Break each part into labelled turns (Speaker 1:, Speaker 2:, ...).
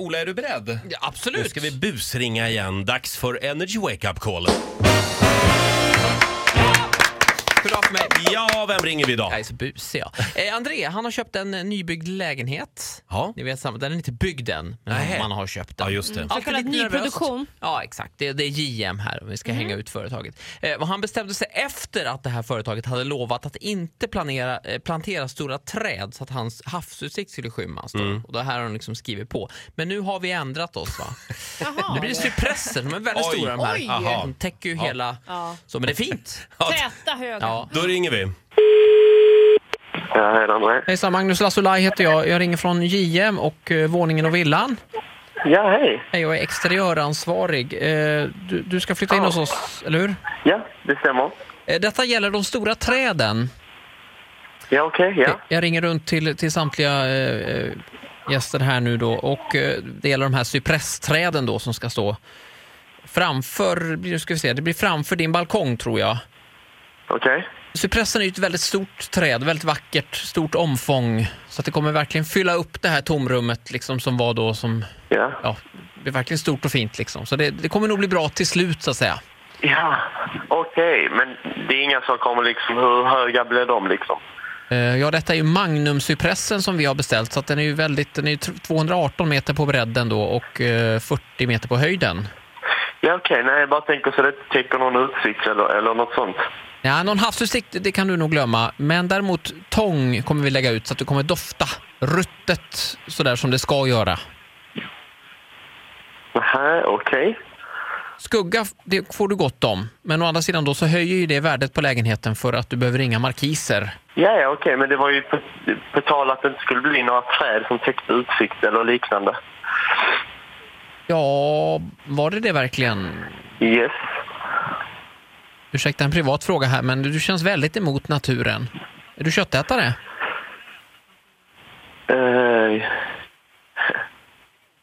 Speaker 1: Ola, är du beredd?
Speaker 2: Ja,
Speaker 1: Nu
Speaker 2: absolut.
Speaker 1: ska vi busringa igen. Dags för Energy Wake Up Call.
Speaker 2: Hurra för mig.
Speaker 1: Ja, vem ringer vi idag?
Speaker 2: Jag är så busig jag. Eh, André, han har köpt en eh, nybyggd lägenhet.
Speaker 1: Ja.
Speaker 2: Ni vet, samma- den är inte byggd än, men
Speaker 1: Nej.
Speaker 2: man har köpt den.
Speaker 1: Ja, just det.
Speaker 2: Alltid
Speaker 3: kallad
Speaker 2: lite nervöst.
Speaker 3: nyproduktion.
Speaker 2: Ja, exakt. Det, det är JM här, om vi ska hänga ut företaget. Eh, och han bestämde sig efter att det här företaget hade lovat att inte planera, eh, plantera stora träd så att hans havsutsikt skulle skymmas. Då.
Speaker 1: Mm.
Speaker 2: Och det här har han liksom skrivit på. Men nu har vi ändrat oss. va? Nu
Speaker 3: Jaha.
Speaker 2: blir det cypresser, de är väldigt
Speaker 1: Oj.
Speaker 2: stora de här.
Speaker 3: Oj.
Speaker 1: Aha.
Speaker 2: De täcker ju hela...
Speaker 3: Ja.
Speaker 2: Så, men det är fint.
Speaker 3: Täta höga.
Speaker 2: Ja.
Speaker 1: Då ringer vi.
Speaker 4: Ja, hej det är André.
Speaker 2: Hejsan, Magnus Lassulaj heter jag. Jag ringer från JM och eh, våningen och villan.
Speaker 4: Ja, hej.
Speaker 2: Hej, Jag är exteriöransvarig. Eh, du, du ska flytta in hos oss, eller hur?
Speaker 4: Ja, det stämmer.
Speaker 2: Eh, detta gäller de stora träden.
Speaker 4: Ja, okej. ja.
Speaker 2: Jag ringer runt till, till samtliga eh, eh, gäster här nu då och eh, det gäller de här cypressträden då som ska stå framför, nu ska vi se, det blir framför din balkong tror jag.
Speaker 4: Okej.
Speaker 2: Cypressen är ju ett väldigt stort träd, väldigt vackert, stort omfång. Så att det kommer verkligen fylla upp det här tomrummet liksom som var då som,
Speaker 4: Ja.
Speaker 2: ja, det blir verkligen stort och fint liksom. Så det, det kommer nog bli bra till slut så att säga.
Speaker 4: Ja, okej. Men det är inga som kommer liksom... Hur höga blir de liksom?
Speaker 2: Eh, Ja, detta är ju Magnumcypressen som vi har beställt så att den är ju väldigt, den är ju tr- 218 meter på bredden då och eh, 40 meter på höjden.
Speaker 4: Ja, okej. Nej, jag bara tänker så det täcker någon utsikt eller, eller något sånt.
Speaker 2: Ja, någon havsutsikt det kan du nog glömma, men däremot tång kommer vi lägga ut så att du kommer dofta ruttet sådär som det ska göra.
Speaker 4: Nej, okej.
Speaker 2: Skugga f- det får du gott om, men å andra sidan då så höjer ju det värdet på lägenheten för att du behöver inga markiser.
Speaker 4: Ja, ja, okej. Men det var ju på, på tal att det inte skulle bli några träd som täckte utsikt eller liknande.
Speaker 2: Ja, var det det verkligen?
Speaker 4: Yes.
Speaker 2: Ursäkta en privat fråga här, men du känns väldigt emot naturen. Är du köttätare?
Speaker 4: Uh,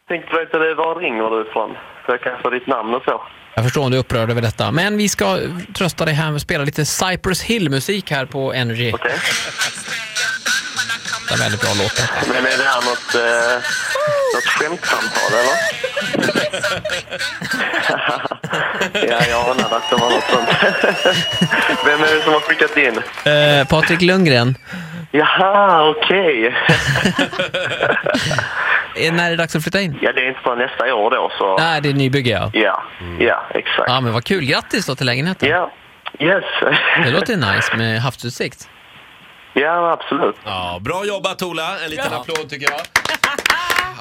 Speaker 4: tänkte du inte det? Var ringer du ifrån? Så jag kan få ditt namn och så.
Speaker 2: Jag förstår om du är upprörd över detta, men vi ska trösta dig här med att spela lite Cypress Hill-musik här på Energy.
Speaker 4: Okej.
Speaker 2: Det är väldigt bra låt.
Speaker 4: Men är det här något, eh, något skämtsamtal eller? ja, jag anade att det var något sånt. Vem är det som har skickat in?
Speaker 2: Eh, Patrik Lundgren,
Speaker 4: Jaha, okej.
Speaker 2: eh, när är det dags att flytta in?
Speaker 4: Ja, det är inte förrän nästa år då så...
Speaker 2: Nej, det är nybygge ja.
Speaker 4: Ja, ja, exakt.
Speaker 2: Ja, men vad kul. Grattis då till lägenheten.
Speaker 4: Ja, yes.
Speaker 2: Det låter nice med havsutsikt.
Speaker 4: ja, absolut.
Speaker 1: Ja, bra jobbat Ola. En liten applåd tycker jag.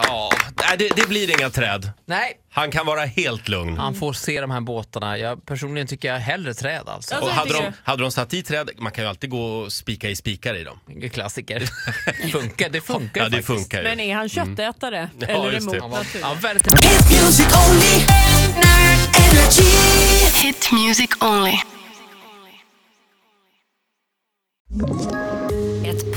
Speaker 1: Ja, nej, det, det blir inga träd.
Speaker 2: Nej,
Speaker 1: Han kan vara helt lugn.
Speaker 2: han får se de här båtarna. Jag, personligen tycker jag hellre träd alltså.
Speaker 3: Ja,
Speaker 1: Och
Speaker 3: så
Speaker 1: hade,
Speaker 3: tycker
Speaker 1: de, hade de satt i träd, man kan ju alltid gå och spika i spikar i dem.
Speaker 2: Oh, klassiker. funkar, det funkar
Speaker 1: Ja, det
Speaker 2: faktiskt.
Speaker 1: funkar
Speaker 3: Men
Speaker 1: ju.
Speaker 3: är han köttätare? Eller
Speaker 1: just
Speaker 3: emot
Speaker 1: det.
Speaker 2: Han var,
Speaker 3: naturen?
Speaker 2: ja, väldigt...
Speaker 5: It's music only. Nerd energy.
Speaker 6: Hit music only.
Speaker 7: Ett